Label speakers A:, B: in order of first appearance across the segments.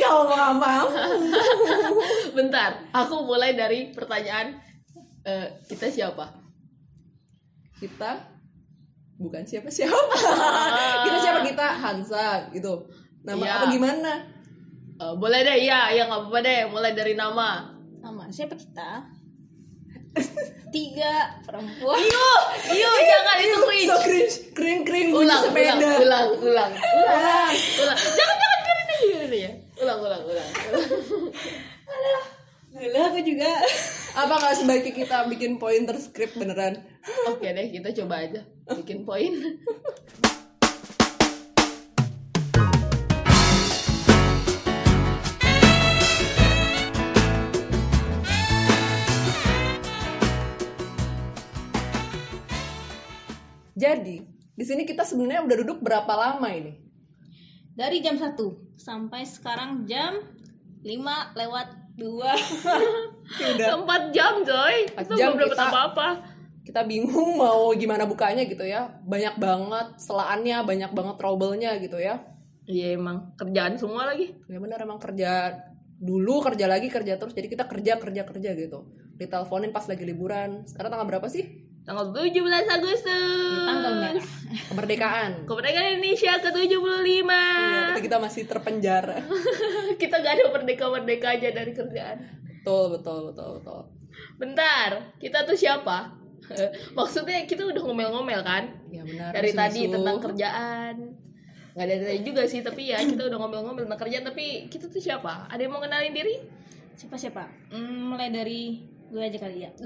A: ya Allah maaf
B: Bentar, aku mulai dari pertanyaan eh, kita siapa?
A: kita bukan siapa siapa kita siapa kita Hansa gitu nama
B: Iya.
A: apa gimana
B: Eh, boleh deh, iya, ya nggak apa-apa deh. Mulai dari nama.
C: Nama siapa kita? Tiga perempuan.
B: Iyo, iyo, jangan itu cringe.
A: so cringe kering kering bunyi
B: Ulang,
A: gitu,
B: ulang,
A: sepeda Ah.
B: ulang, ulang,
A: Ulang.
B: ulang. Jangan, jangan, biarin aja, biarin aja. ya. Ulang, ulang, ulang.
C: Dulu aku juga.
A: apa nggak sebaiknya kita bikin pointer script beneran
B: Oke deh, kita coba aja bikin poin.
A: jadi di sini kita sebenarnya udah duduk berapa lama ini
C: Dari jam 1 sampai sekarang jam 5 lewat 2.
A: udah
B: Empat jam, coy.
A: Empat
B: Itu
A: jam
B: belum dapat
A: kita.
B: apa-apa.
A: kita bingung mau gimana bukanya gitu ya banyak banget selaannya banyak banget trouble-nya gitu ya
B: Iya emang kerjaan semua lagi.
A: ya bener emang kerja dulu kerja lagi kerja terus jadi kita kerja kerja kerja gitu diteleponin pas lagi liburan sekarang tanggal berapa sih
B: Tanggal 17 Agustus.
C: Tanggal merah.
A: kemerdekaan
B: Kemerdekaan Indonesia ke-75.
A: Iya, kita masih terpenjara
B: kita gak ada merdeka-merdeka aja dari kerjaan.
A: betul betul betul betul
B: Bentar, kita tuh siapa? Maksudnya kita udah ngomel-ngomel kan?
A: ya benar
B: Dari
A: rusuh-rusuh.
B: tadi tentang kerjaan. Gak ada tadi juga sih, tapi ya kita udah ngomel-ngomel tentang kerjaan. Tapi kita tuh siapa? Ada yang mau kenalin diri?
C: Siapa-siapa? Hmm, mulai dari gue aja kali ya.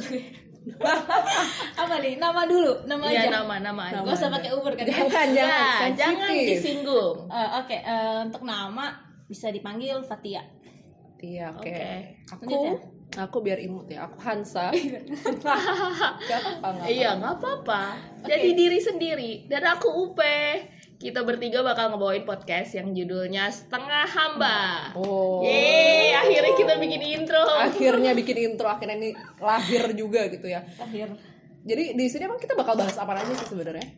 C: Apa nih? Nama dulu, nama aja.
B: Iya, nama, nama. aja.
C: Gak usah pakai Uber kan. ya?
A: jangan jangan
B: Ya, jangan
A: sensitif.
B: disinggung.
C: Eh, Oke, eh, untuk nama bisa dipanggil Fatia.
A: iya oke
B: Oke.
A: aku
C: Lanjut ya.
A: aku biar imut ya aku Hansa gak apa nggak
B: Iya, nggak apa-apa. Jadi diri sendiri dan aku Upe. Kita bertiga bakal ngebawain podcast yang judulnya Setengah Hamba.
A: oh
B: Yeay, akhirnya kita bikin intro.
A: akhirnya bikin intro akhirnya ini lahir juga gitu ya
C: Terakhir.
A: jadi di sini emang kita bakal bahas apa aja sih sebenarnya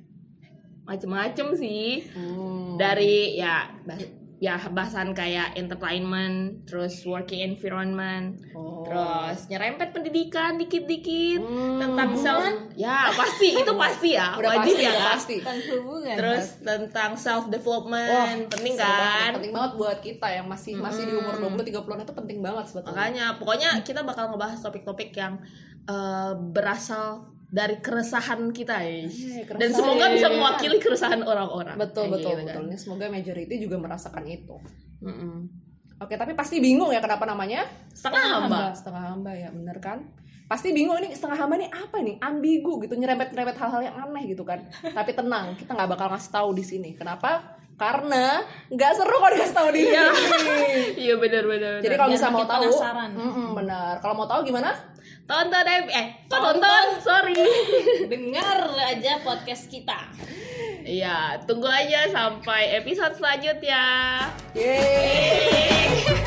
B: Macem-macem sih.
A: Hmm.
B: Dari ya bah- ya bahasan kayak entertainment, terus working environment,
A: Oh.
B: terus nyerempet pendidikan dikit-dikit
A: Hmm.
B: tentang self ya pasti itu pasti ya
A: Oh, udah
B: wajib
A: pasti,
B: ya
A: udah
B: Kak?
A: pasti.
C: Tentang hubungan.
B: terus tentang self
A: Wah,
B: development penting
A: seru banget.
B: kan Hmm.
A: Penting banget buat kita yang masih masih di umur 20 30-an itu penting banget sebetulnya.
B: Makanya pokoknya kita bakal ngebahas topik-topik yang eh, berasal dari keresahan kita ya. Dan
A: keresahan.
B: semoga bisa mewakili keresahan orang-orang.
A: Iya, Betul
B: Kayak
A: betul
B: gitu kan.
A: betul. Ini semoga majority juga merasakan itu.
B: Mm-mm.
A: Oke, tapi pasti bingung ya kenapa namanya?
B: Setengah hamba.
A: Setengah hamba ya, bener kan? Pasti bingung ini setengah hamba nih apa nih? Ambigu gitu, nyerempet-nyerempet hal-hal yang aneh gitu kan. Tapi tenang, kita nggak bakal ngasih tahu di sini. Kenapa? Karena nggak seru kalau dikasih tahu di sini.
B: Iya benar benar.
A: Jadi kalau
C: Biar
A: bisa mau
C: makin
A: tahu,
C: penasaran.
A: Mm-mm, benar. Kalau mau tahu gimana?
B: tonton eh, eh kok
C: Tonton.
B: tonton, sorry.
C: dengar aja podcast kita.
B: Iya, tunggu aja sampai episode selanjutnya.
A: Yeay.
B: Yeay.